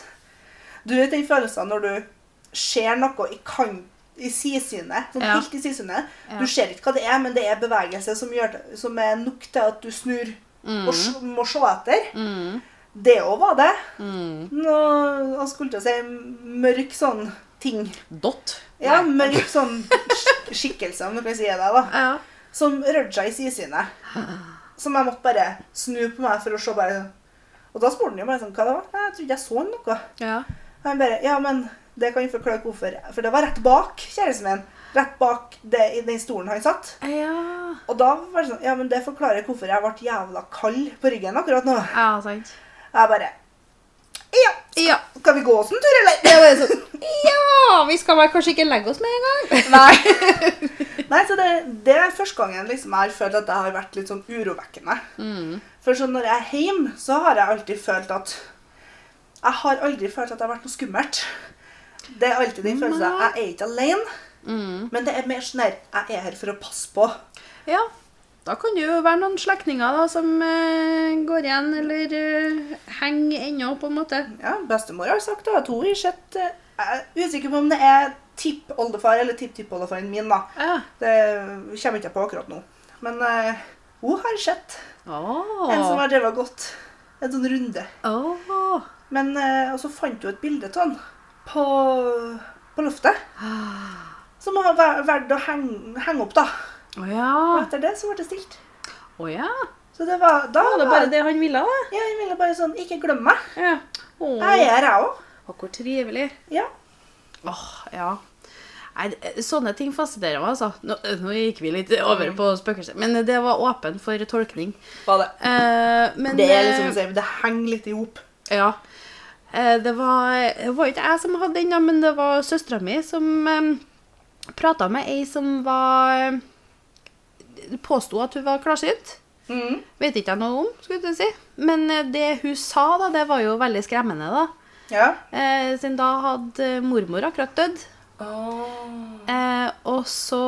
Speaker 2: Du vet den følelsen når du ser noe i kan- i sidesynet, sånn
Speaker 1: Ja.
Speaker 2: helt i sidesynet.
Speaker 1: Ja.
Speaker 2: Du ser ikke hva det er, men det er bevegelse som, gjør det, som er nok til at du snur
Speaker 1: Mm.
Speaker 2: og s- må se etter.
Speaker 1: Mhm.
Speaker 2: Det òg var det.
Speaker 1: Mhm.
Speaker 2: Nå, jeg skulle til å si mørk sånn ting.
Speaker 1: Dott.
Speaker 2: Ja,
Speaker 1: Nei.
Speaker 2: mørk sånn skik- skikkelse, om du kan si det, da.
Speaker 1: Ja.
Speaker 2: Som rørte seg i sidesynet. Som jeg måtte bare snu på meg for å se bare Og da spurte han jo bare sånn hva det var. Nei, jeg trodde jeg så noe.
Speaker 1: Ja.
Speaker 2: Og han bare Ja, men det kan jeg forklare hvorfor. For det var rett bak kjæresten min. Rett bak det, i den stolen han satt.
Speaker 1: Ja.
Speaker 2: Og da var det sånn Ja, men det forklarer hvorfor jeg ble jævla kald på ryggen akkurat nå.
Speaker 1: Ja, sant.
Speaker 2: Jeg bare Ja,
Speaker 1: Ja.
Speaker 2: skal vi gå oss en tur, eller? Det var sånn.
Speaker 1: ja! Vi skal vel kanskje ikke legge oss med en gang?
Speaker 2: Nei. Nei, så det, det er første gangen liksom jeg har følt at det har vært litt sånn urovekkende.
Speaker 1: Mm,
Speaker 2: For sånn når jeg er hjemme, så har jeg alltid følt at Jeg har aldri følt at det har vært noe skummelt. Det er alltid den følelsen. Jeg er ikke alene.
Speaker 1: mm.
Speaker 2: Men det er mer sånn her Jeg er her for å passe på.
Speaker 1: Ja. Da kan det jo være noen slektninger da, som eh, går igjen, eller eh, henger ennå, på en måte.
Speaker 2: Ja, Bestemor har sagt det, at hun har sett eh, Jeg er usikker på om det er tippoldefar eller tipptippoldefaren min, da.
Speaker 1: Ja.
Speaker 2: Det kommer ikke jeg på akkurat nå. Men eh, hun har sett en som
Speaker 1: Åh.
Speaker 2: har drevet og gått en sånn runde.
Speaker 1: Ah. Åh.
Speaker 2: Men eh, Og så fant hun et bilde av han på, på loftet.
Speaker 1: Ah,
Speaker 2: Som har væ- valgt å henge, henge opp, da.
Speaker 1: Å ja.
Speaker 2: Og etter det så ble det stilt.
Speaker 1: Å ja.
Speaker 2: Så det var Da
Speaker 1: Var det bare det han ville, da?
Speaker 2: Ja, jeg ville bare sånn Ikke glem meg.
Speaker 1: Ja. Åh.
Speaker 2: Jeg er her, jeg òg.
Speaker 1: Å, hvor trivelig.
Speaker 2: Ja.
Speaker 1: Åh, ja. Nei, det- sånne ting fascinerer meg, altså. Nå, nå gikk vi litt over på spøkelser. Men det var åpen for tolkning.
Speaker 2: Var det.
Speaker 1: Eh, men
Speaker 2: Det er liksom
Speaker 1: eh,
Speaker 2: å si, det henger litt i hop.
Speaker 1: Ja. Eh, Det var, det var ikke jeg som hadde den, da, men det var søstera mi som um, prata med ei som var eh, Påsto at hun var klarsynt. Vet ikke jeg noe om, skulle jeg til å si. Men eh, det hun sa, da, det var jo veldig skremmende, da.
Speaker 2: Ja.
Speaker 1: Eh, siden da hadde mormor akkurat dødd. Eh, og så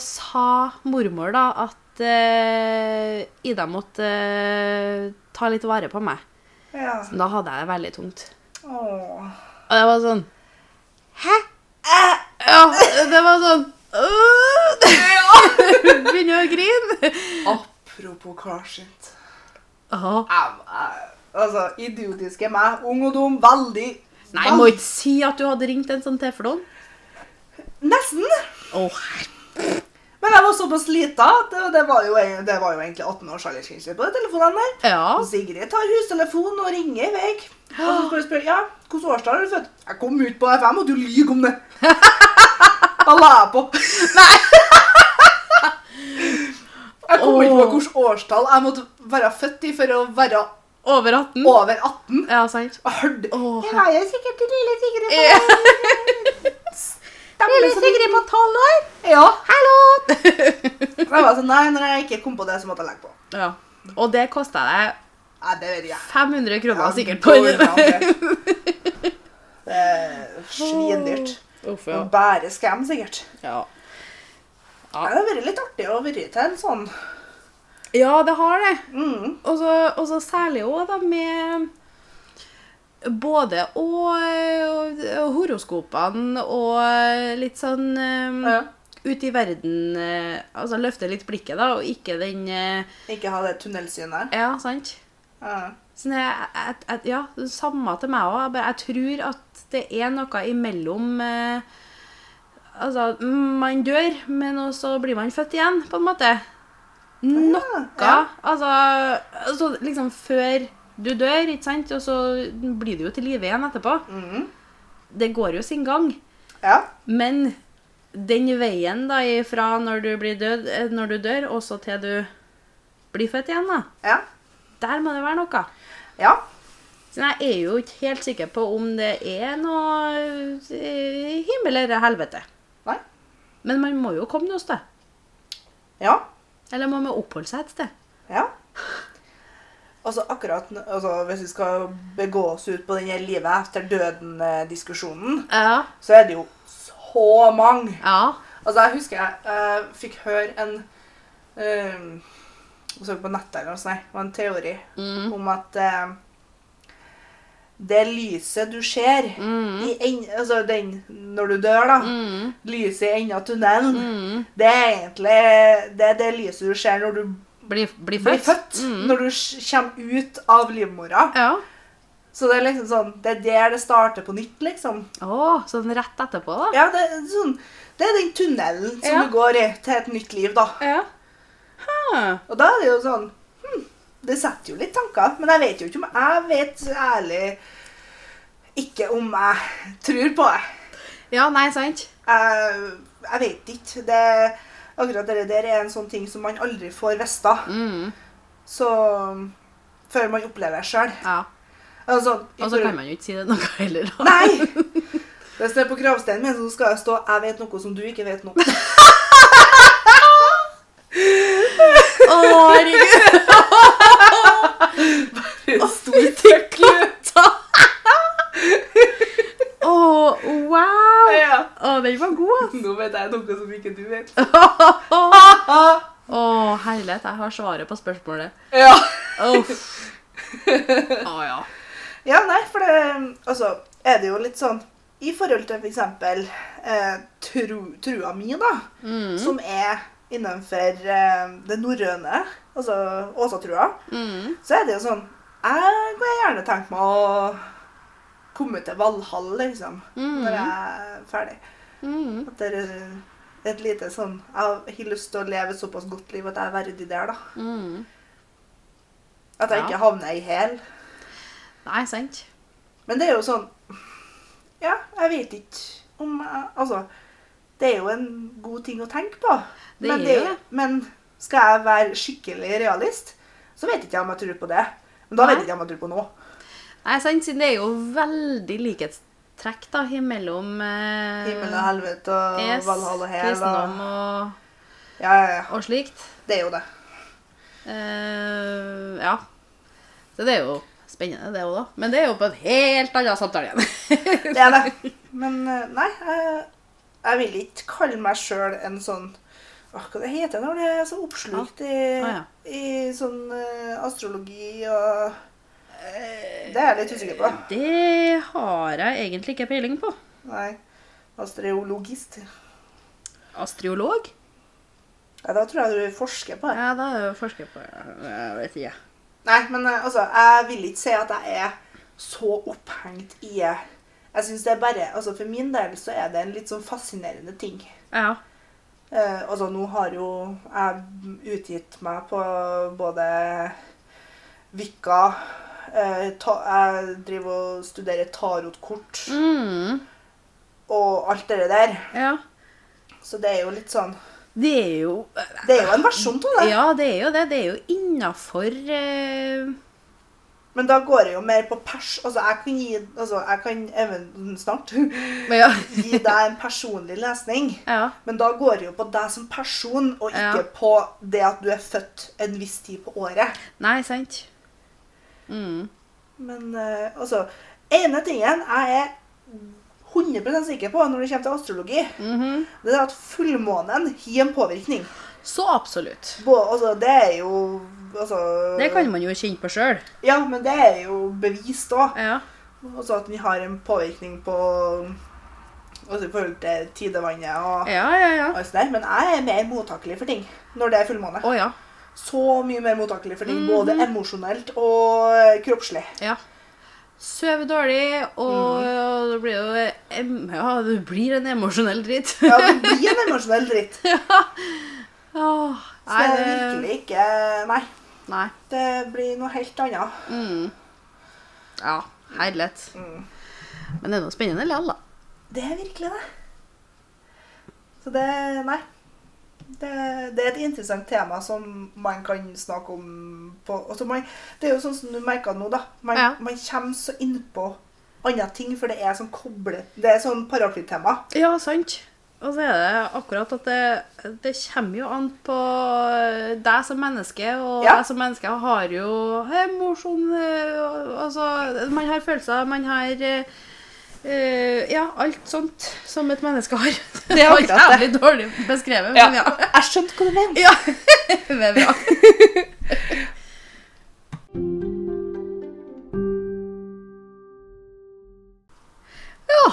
Speaker 1: sa mormor da at eh, Ida måtte eh, ta litt vare på meg.
Speaker 2: Ja.
Speaker 1: Da hadde jeg det veldig tungt.
Speaker 2: Åh.
Speaker 1: Og det var sånn Hæ? Ja, det var sånn «Øh!» Begynner å grine.
Speaker 2: Apropos klarsynt.
Speaker 1: Åh.
Speaker 2: Au, au. Altså, idiotiske meg. Ung og dum. Veldig.
Speaker 1: Nei, jeg må ikke si at du hadde ringt en sånn teflon.
Speaker 2: Nesten.
Speaker 1: Åh,
Speaker 2: Men jeg var såpass lita at det, det, var jo, en- det var jo egentlig 18 års aldersgrense på de telefonene der.
Speaker 1: Ja.
Speaker 2: Og Sigrid tar hustelefonen og ringer i vei. Og så skal du spørre ja, hvilket årstall er du født? Jeg kom ut på FM, og du lyver om det. Da la jeg på. Jeg kom ikke på
Speaker 1: Åh.
Speaker 2: hvilket årstall jeg måtte være født i for å være
Speaker 1: Over 18.
Speaker 2: over 18.
Speaker 1: Ja, sant.
Speaker 2: Jeg hørte
Speaker 1: Åh,
Speaker 2: Det var jo sikkert til lille Sigrid. på-
Speaker 1: Ja.
Speaker 2: Stemmer som-
Speaker 1: på tolv år.
Speaker 2: Ja.
Speaker 1: Hallo!
Speaker 2: Jeg var sånn, nei, når jeg ikke kom på det, så måtte jeg legge på.
Speaker 1: ja. Og det kosta deg
Speaker 2: Nei, det vet jeg.
Speaker 1: 500 kroner
Speaker 2: Ja,
Speaker 1: sikkert på
Speaker 2: går
Speaker 1: en
Speaker 2: bra, det. Det er Svindyrt.
Speaker 1: Uff, ja.
Speaker 2: Og Bare skam, sikkert.
Speaker 1: ja.
Speaker 2: Nei, Det har vært litt artig å være til en sånn
Speaker 1: Ja, det har det.
Speaker 2: mm.
Speaker 1: Og så- Og så særlig òg, da, med både og, og, og horoskopene og litt sånn um,
Speaker 2: Ja.
Speaker 1: ut i verden eh, Altså løfte litt blikket, da, og ikke den eh,
Speaker 2: Ikke ha det tunnelsynet.
Speaker 1: Ja, sant?
Speaker 2: Ja.
Speaker 1: Sånn jeg, jeg, jeg, ja, det samme til meg òg. Jeg, bare- jeg tror at det er noe imellom eh, Altså, man dør, men også blir man født igjen, på en måte. Noe
Speaker 2: Ja.
Speaker 1: Altså, altså liksom før du dør, ikke sant, og så blir du jo til live igjen etterpå.
Speaker 2: Mhm.
Speaker 1: Det går jo sin gang.
Speaker 2: ja.
Speaker 1: Men den veien da ifra når du blir død, eh, når du dør, også til du blir født igjen, da.
Speaker 2: Ja.
Speaker 1: Der må det være noe.
Speaker 2: Ja.
Speaker 1: Så jeg er jo ikke helt sikker på om det er noe eh, himmel eller helvete.
Speaker 2: Nei.
Speaker 1: Men man må jo komme noe sted.
Speaker 2: Ja.
Speaker 1: Eller man må oppholde seg et sted.
Speaker 2: Ja. Altså akkurat n- altså, Hvis vi skal begå oss ut på den her livet etter døden-diskusjonen,
Speaker 1: Ja.
Speaker 2: så er det jo så mange.
Speaker 1: Ja.
Speaker 2: Altså Jeg husker jeg eh, fikk høre en eh, Jeg så på nettet eller noe sånt, nei, det var en teori
Speaker 1: Mm.
Speaker 2: om at eh, det lyset du ser
Speaker 1: Mm.
Speaker 2: i en, altså den, når du dør, da
Speaker 1: Mm.
Speaker 2: Lyset i enden av tunnelen,
Speaker 1: Mm.
Speaker 2: det er egentlig det, er det lyset du ser når du
Speaker 1: Bli, bli
Speaker 2: blir
Speaker 1: født.
Speaker 2: født.
Speaker 1: Mm.
Speaker 2: Når du sj- kommer ut av livmora.
Speaker 1: Ja.
Speaker 2: Så det er liksom sånn Det er der det starter på nytt, liksom.
Speaker 1: Å, sånn rett etterpå, da.
Speaker 2: Ja, det er sånn Det er den tunnelen som
Speaker 1: Ja.
Speaker 2: du går i til et nytt liv, da.
Speaker 1: Ja. Hæ.
Speaker 2: Og da er det jo sånn hm, Det setter jo litt tanker, men jeg vet jo ikke om Jeg vet ærlig ikke om jeg tror på det.
Speaker 1: Ja, nei, sant?
Speaker 2: Jeg, jeg vet ikke. Det, akkurat det der er en sånn ting som man aldri får vite
Speaker 1: Mm.
Speaker 2: Så Før man opplever det sjøl.
Speaker 1: Ja.
Speaker 2: Altså,
Speaker 1: Og så kan man jo ikke si det noe heller. da.
Speaker 2: Nei! Hvis det er på gravsteinen min, så skal det stå 'Jeg vet noe som du ikke vet noe'.
Speaker 1: Å, herregud!
Speaker 2: Stor
Speaker 1: Katta! Å, wow!
Speaker 2: Ja.
Speaker 1: Å, den var god,
Speaker 2: Nå vet jeg noe som ikke du vet.
Speaker 1: ass! Å,
Speaker 2: Ah,
Speaker 1: herlighet, jeg har svaret på spørsmålet.
Speaker 2: ja.
Speaker 1: Uff. Å ja.
Speaker 2: ja, nei, for det Altså, er det jo litt sånn I forhold til f.eks. Eh, tru, trua mi, da,
Speaker 1: Mm.
Speaker 2: som er innenfor eh, det norrøne, altså åsatrua,
Speaker 1: Mm.
Speaker 2: så er det jo sånn Jeg kunne gjerne tenkt meg å komme til Valhall, liksom, når
Speaker 1: Mm.
Speaker 2: jeg er ferdig.
Speaker 1: Mm.
Speaker 2: At det er et lite sånn Jeg har lyst til å leve et såpass godt liv at jeg er verdig der, da.
Speaker 1: Mm.
Speaker 2: At jeg
Speaker 1: Ja.
Speaker 2: ikke havner i hæl.
Speaker 1: Nei, sant?
Speaker 2: Men det er jo sånn Ja, jeg vet ikke om jeg Altså, det er jo en god ting å tenke på.
Speaker 1: Det
Speaker 2: men,
Speaker 1: er jo det.
Speaker 2: men skal jeg være skikkelig realist, så vet ikke jeg om jeg tror på det. Men da
Speaker 1: Nei.
Speaker 2: vet ikke jeg om jeg tror på noe.
Speaker 1: Nei, sant, siden det er jo veldig likhetstrekk da, imellom eh,
Speaker 2: Himmel og helvete og
Speaker 1: yes,
Speaker 2: Valhall og hæl og
Speaker 1: kristendom og,
Speaker 2: ja, ja, ja.
Speaker 1: og slikt.
Speaker 2: Det er jo det.
Speaker 1: Eh, ja. Så det er jo spennende, det òg, da. Men det er jo på en helt annen samtale igjen.
Speaker 2: Det er det. Men eh, nei, jeg, jeg vil ikke kalle meg sjøl en sånn Åh, Hva det heter det når det er så oppslukt i,
Speaker 1: Ah,
Speaker 2: i sånn eh, astrologi og Det er jeg litt usikker på.
Speaker 1: det har jeg egentlig ikke peiling på.
Speaker 2: Nei. Astreologist.
Speaker 1: Astriolog?
Speaker 2: Ja, da tror jeg du forsker på det.
Speaker 1: Ja, det er jo forsker på Jeg vet ikke.
Speaker 2: Nei, men eh, altså, jeg vil ikke si at jeg er så opphengt i Jeg synes det er bare Altså, for min del så er det en litt sånn fascinerende ting.
Speaker 1: Ja.
Speaker 2: Eh, altså, nå har jo jeg utgitt meg på både Vikka eh, ta, Jeg driver og studerer tarotkort
Speaker 1: Mm.
Speaker 2: og alt det der.
Speaker 1: Ja.
Speaker 2: Så det er jo litt sånn
Speaker 1: Det er jo
Speaker 2: Det er jo en versjon av det.
Speaker 1: Ja, det er jo det. Det er jo innafor eh,
Speaker 2: Men da går det jo mer på pers. Altså, jeg kan gi altså, jeg kan even, snart
Speaker 1: ja.
Speaker 2: gi deg en personlig lesning.
Speaker 1: ja.
Speaker 2: Men da går det jo på deg som person, og ikke
Speaker 1: Ja.
Speaker 2: på det at du er født en viss tid på året.
Speaker 1: Nei, sant? Mm.
Speaker 2: Men eh, altså Ene tingen jeg er 100 sikker på når det kommer til astrologi,
Speaker 1: Mhm.
Speaker 2: det er at fullmånen gir en påvirkning.
Speaker 1: Så absolutt.
Speaker 2: Bå, altså, det er jo altså,
Speaker 1: Det kan man jo kjenne på sjøl.
Speaker 2: Ja, men det er jo bevist òg.
Speaker 1: Ja.
Speaker 2: Altså at vi har en påvirkning på altså i forhold til tidevannet og
Speaker 1: ja, ja, ja.
Speaker 2: alt sånt der. Men jeg er mer mottakelig for ting når det er fullmåne.
Speaker 1: Å ja.
Speaker 2: Så mye mer mottakelig for
Speaker 1: Mhm.
Speaker 2: ting, både emosjonelt og eh, kroppslig.
Speaker 1: ja. Sover dårlig, og
Speaker 2: Mm.
Speaker 1: og det blir jo em- Ja, det blir en emosjonell dritt.
Speaker 2: Ja, det blir en emosjonell dritt. Så
Speaker 1: Åh,
Speaker 2: det
Speaker 1: nei,
Speaker 2: er virkelig ikke Nei.
Speaker 1: Nei.
Speaker 2: Det blir noe helt annet.
Speaker 1: Mm. Ja, herlighet.
Speaker 2: Mm.
Speaker 1: Men det er noe spennende likevel, da.
Speaker 2: Det er virkelig det. Så det Nei. Det, det er et interessant tema som man kan snakke om på altså man, Det er jo sånn som du merker nå, da. Man,
Speaker 1: Ja.
Speaker 2: man kommer så innpå andre ting, for det er sånn koble... Det er sånn paraplytema.
Speaker 1: Ja, sant. Og så er det akkurat at det, det kommer jo an på eh, deg som menneske, og
Speaker 2: Ja.
Speaker 1: deg som menneske har jo emosjon eh, Altså, man har følelser, man har eh, eh, ja, alt sånt som et menneske har.
Speaker 2: Det er
Speaker 1: Alt
Speaker 2: akkurat
Speaker 1: jævlig dårlig beskrevet,
Speaker 2: Ja.
Speaker 1: men ja.
Speaker 2: Jeg skjønte hva du mener.
Speaker 1: Ja. Det er bra. ja.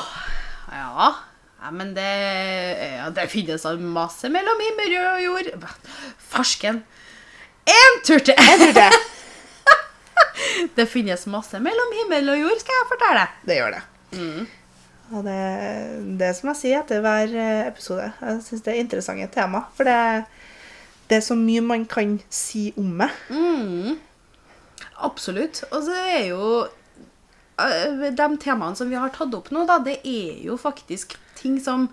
Speaker 1: ja. Nei, men det, ja, det finnes da masse mellom himmel og jord. Farsken. En tur til!
Speaker 2: Det,
Speaker 1: Det finnes masse mellom himmel og jord, skal jeg fortelle.
Speaker 2: det gjør det. Mm. Og det, det er som jeg sier etter hver eh, episode. Jeg syns det er interessante tema. For det, det er så mye man kan si om det.
Speaker 1: Mm. Absolutt. Og så er jo øh, De temaene som vi har tatt opp nå, da, det er jo faktisk ting som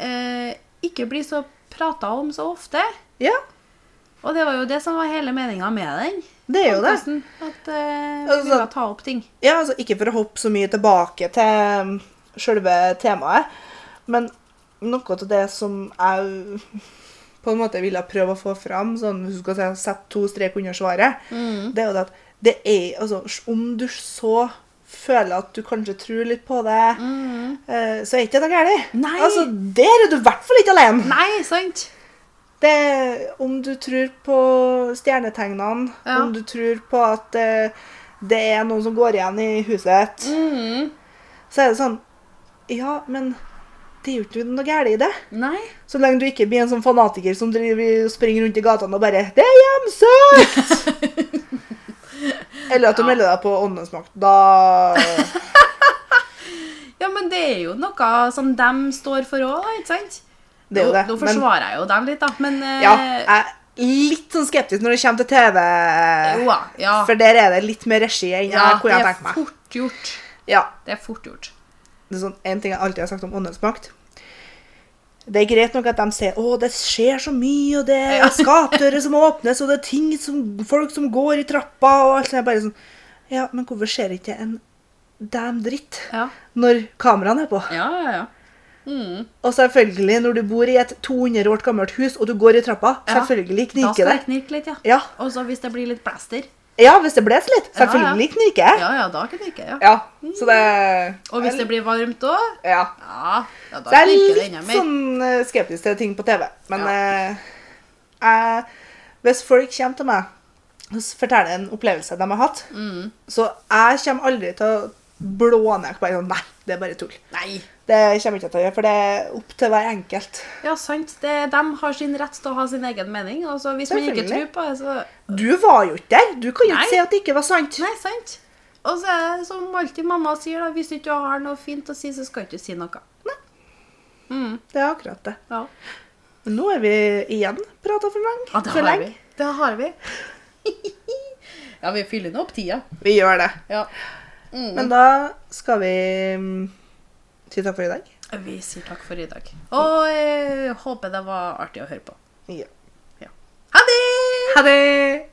Speaker 1: eh, ikke blir så prata om så ofte.
Speaker 2: Ja,
Speaker 1: Og det var jo det som var hele meninga med den.
Speaker 2: det er jo det.
Speaker 1: podcasten, At eh, vi
Speaker 2: Altså-
Speaker 1: ville ta opp ting.
Speaker 2: Ja, altså ikke for å hoppe så mye tilbake til um, selve temaet, men noe av det som jeg på en måte ville prøve å få fram, sånn hvis du skal si- sette to strek under svaret, det er jo det at det er Altså, om du så føler at du kanskje tror litt på det, eh, så er ikke det noe galt.
Speaker 1: Nei.
Speaker 2: Altså, der er du i hvert fall ikke alene.
Speaker 1: Nei, sant?
Speaker 2: Det, om du tror på stjernetegnene,
Speaker 1: Ja.
Speaker 2: om du tror på at eh, det er noen som går igjen i huset ditt,
Speaker 1: Mm.
Speaker 2: Mm. så er det sånn Ja, men det er jo ikke noe galt i det.
Speaker 1: Nei.
Speaker 2: Så lenge du ikke blir en sånn fanatiker som driver, springer rundt i gatene og bare 'Det er hjemsøkt!' Eller at du
Speaker 1: Ja.
Speaker 2: melder deg på Åndenes makt. Da
Speaker 1: Ja, men det er jo noe som dem står for òg, ikke sant?
Speaker 2: Det er jo det,
Speaker 1: Nå, nå
Speaker 2: men-
Speaker 1: forsvarer jeg jo dem litt, da, men eh,
Speaker 2: Ja, jeg er litt sånn skeptisk når det kommer til TV.
Speaker 1: jo, da, ja.
Speaker 2: For der er det litt mer regi enn
Speaker 1: ja,
Speaker 2: jeg kunne
Speaker 1: det
Speaker 2: jeg
Speaker 1: er
Speaker 2: tenkt meg.
Speaker 1: fort gjort.
Speaker 2: Ja,
Speaker 1: Det er fort gjort.
Speaker 2: det er sånn, En ting jeg alltid har sagt om åndens makt Det er greit nok at de sier å, det skjer så mye, og det er
Speaker 1: Ja.
Speaker 2: skapdører som åpnes, og det er ting som, folk som går i trappa og alt sånt. Jeg Bare sånn, ja, men hvorfor skjer ikke en damn dritt
Speaker 1: Ja,
Speaker 2: når kameraene er på?
Speaker 1: ja, ja. ja. Mm.
Speaker 2: Og selvfølgelig, når du bor i et 200 år gammelt hus og du går i trappa,
Speaker 1: Ja.
Speaker 2: selvfølgelig
Speaker 1: Da
Speaker 2: knirker
Speaker 1: skal
Speaker 2: det.
Speaker 1: det knirke litt, ja.
Speaker 2: Ja.
Speaker 1: Og så hvis det blir litt plaster,
Speaker 2: ja, hvis det blåser litt,
Speaker 1: Ja, ja.
Speaker 2: selvfølgelig knirker det.
Speaker 1: ja, ja, da knirker det, ja.
Speaker 2: Ja, så det
Speaker 1: Og hvis det blir varmt òg,
Speaker 2: ja.
Speaker 1: ja, ja, da
Speaker 2: Så jeg
Speaker 1: knirker det
Speaker 2: er
Speaker 1: enda
Speaker 2: litt
Speaker 1: mer.
Speaker 2: sånn eh, skeptisk til ting på TV. Men eh, jeg- hvis folk kommer til meg og s- forteller en opplevelse de har hatt,
Speaker 1: Mm.
Speaker 2: så jeg kommer aldri til å blå ned bare sånn Nei, det er bare tull.
Speaker 1: Nei.
Speaker 2: Det kommer jeg ikke til å gjøre, for det er opp til hver enkelt.
Speaker 1: Ja, sant. Det, de har sin rett til å ha sin egen mening. Og så hvis man ikke tror
Speaker 2: Selvfølgelig.
Speaker 1: på det, så
Speaker 2: Du var jo ikke der. Du kan jo
Speaker 1: Nei.
Speaker 2: ikke si at det ikke var sant.
Speaker 1: Nei, sant. Og så er det som alltid mamma sier, da. Hvis du ikke har noe fint å si, så skal du ikke si noe.
Speaker 2: Det er akkurat det.
Speaker 1: Ja.
Speaker 2: Men nå er vi igjen prata for lenge.
Speaker 1: Ja, det
Speaker 2: for
Speaker 1: har
Speaker 2: lenge.
Speaker 1: vi. Det har vi. ja, vi fyller nå opp tida.
Speaker 2: Vi gjør det.
Speaker 1: Ja.
Speaker 2: Men da skal vi mm, si takk for i dag.
Speaker 1: Vi sier takk for i dag. Og eh, håper det var artig å høre på.
Speaker 2: Ja.
Speaker 1: Ha det!
Speaker 2: Ha det!